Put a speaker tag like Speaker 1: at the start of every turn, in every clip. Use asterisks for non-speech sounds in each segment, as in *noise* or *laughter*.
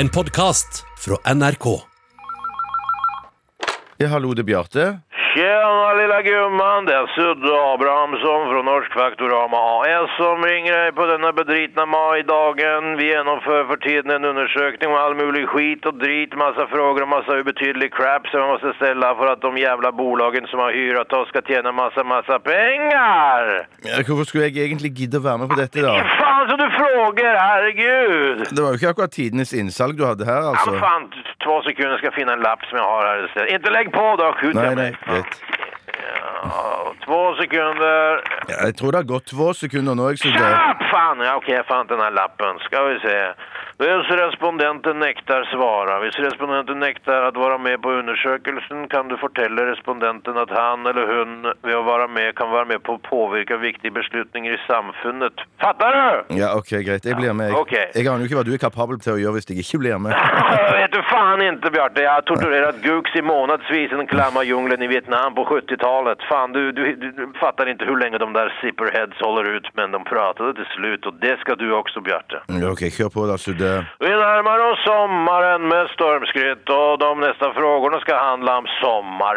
Speaker 1: En podkast fra NRK.
Speaker 2: Ja, hallo, det er Bjarte.
Speaker 3: Tjena lilla gumman, det är Sudde Abrahamsson från Norsk Faktorama AS som ringer dig på denna bedritna majdagen. Vi genomför för tiden en undersökning om all möjlig skit och drit, massa frågor och massa obetydlig crap som vi måste ställa för att de jävla bolagen som har hyrat oss ska tjäna massa, massa pengar!
Speaker 2: Ja, Eh, Hvorfor skulle jeg egentlig gidde å være med på dette,
Speaker 3: Ja.
Speaker 2: da?
Speaker 3: Fan så du frågar, herregud!
Speaker 2: Det var jo ikke akkurat tidenes innsalg du hadde her,
Speaker 3: Ja,
Speaker 2: altså.
Speaker 3: men fan, två sekunder ska jag finna en lapp som jag har här istället. Inte lägg på då, skjut
Speaker 2: Nei,
Speaker 3: jag
Speaker 2: nei,
Speaker 3: mig.
Speaker 2: greit.
Speaker 3: Ja, två sekunder.
Speaker 2: Ja, jeg tror det har gått få sekunder nå, jeg, så
Speaker 3: Shut
Speaker 2: det
Speaker 3: up! Fan, ja, okej, jag fann inte den här lappen. Ska vi se. Dels respondenten nektar svara. Hvis respondenten nektar att vara med på undersökelsen kan du fortälla respondenten att han eller hon vid att vara med kan vara med på att påverka viktiga beslutningar i samfundet. Fattar du? *laughs*
Speaker 2: Ja, ok, greit. Jeg blir med.
Speaker 3: ok.
Speaker 2: Jeg, jeg aner jo ikke hva du er kapabel til å gjøre hvis jeg ikke blir med.
Speaker 3: Jag vet du fan inte Bjarte, jag har torturerat Gux i månadsvis i den klamma djungeln i Vietnam på 70-talet. Fan du, du, du, du fattar inte hur länge de där zipperheads håller ut men de pratade till slut och det ska du också Bjarte.
Speaker 2: Ja, Mm, ok, kjør på, da, Sudde.
Speaker 3: Vi närmar oss sommaren med stormskritt och de nästa frågorna ska handla om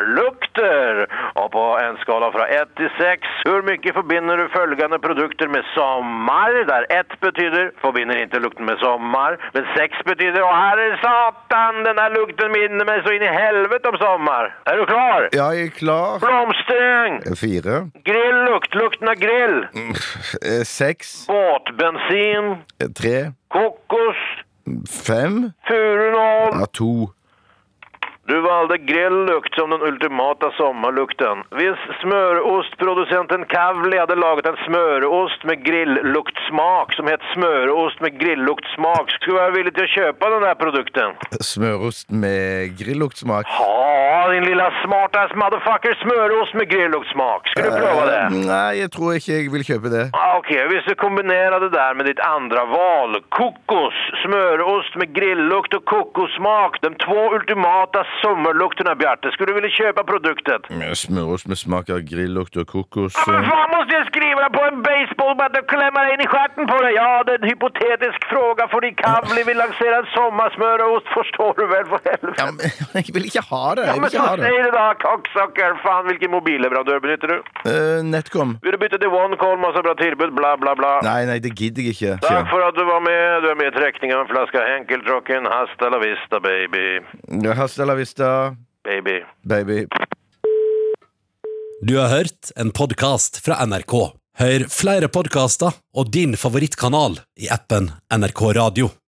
Speaker 3: sommarlukter. Och på en skala från 1 till 6, hur mycket förbinder du följande produkter med sommar? Där 1 betyder förbinder inte lukten med sommar, men 6 betyder åh herre satan, den här lukten minner mig så in i helvete om sommar. Är du klar?
Speaker 2: Ja, jeg er klar.
Speaker 3: Blomsträng,
Speaker 2: Fire.
Speaker 3: grilllukt, lukten av grill,
Speaker 2: Eh, Seks.
Speaker 3: båtbensin,
Speaker 2: Eh, Tre.
Speaker 3: kokos,
Speaker 2: Fem.
Speaker 3: furunål.
Speaker 2: Ja, to.
Speaker 3: Du valde grilllukt som den ultimata sommarlukten. Viss smörostproducenten Kavli hade lagat en smörost med grillluktsmak som hette smörost med grillluktsmak. Skulle jag vara villig till att köpa den här produkten?
Speaker 2: Smørost med grilluktsmak.
Speaker 3: Ja, din lilla smartass motherfucker, smörost med grillluktsmak. Ska du prova det?
Speaker 2: Eh, Nei, jeg tror ikke jeg vil kjøpe det.
Speaker 3: Ah, Okej, okay. vi kombinera det där med ditt andra val. Kokos, smörost med grilllukt och kokossmak. De två ultimata sommarlukterna, Bjarte. Skulle du vilja köpa produkten?
Speaker 2: Eh, Smørost med smak av grillukt och kokos.
Speaker 3: Ja, Men
Speaker 2: eh.
Speaker 3: fan Alltså, måste jag skriva på en baseballbatt och klämma in i stjärten på dig? Ja, det är en hypotetisk fråga för din Kavli vill lansera en sommarsmörost, förstår du väl för helvete?
Speaker 2: Ja, men *laughs* jeg vil ikke ha det.
Speaker 3: Ja,
Speaker 2: Jeg
Speaker 3: men
Speaker 2: vil
Speaker 3: så
Speaker 2: ikke ha det.
Speaker 3: säg det då, cocksucker! Fan, vilken mobilleverantör benytter du?
Speaker 2: Eh, Netcom.
Speaker 3: Vill du byta till OneCall, massa bra tillbud, bla bla bla.
Speaker 2: Nei, nei, det gidder jeg ikke.
Speaker 3: Tack för att du var med. Du är med i träckningen av en flaska Henkeltrocken. Hasta la vista, baby.
Speaker 2: Ja, Hasta la vista,
Speaker 3: Baby.
Speaker 2: baby.
Speaker 1: Du har hørt en podkast fra NRK. Hør flere podkaster og din favorittkanal i appen NRK Radio.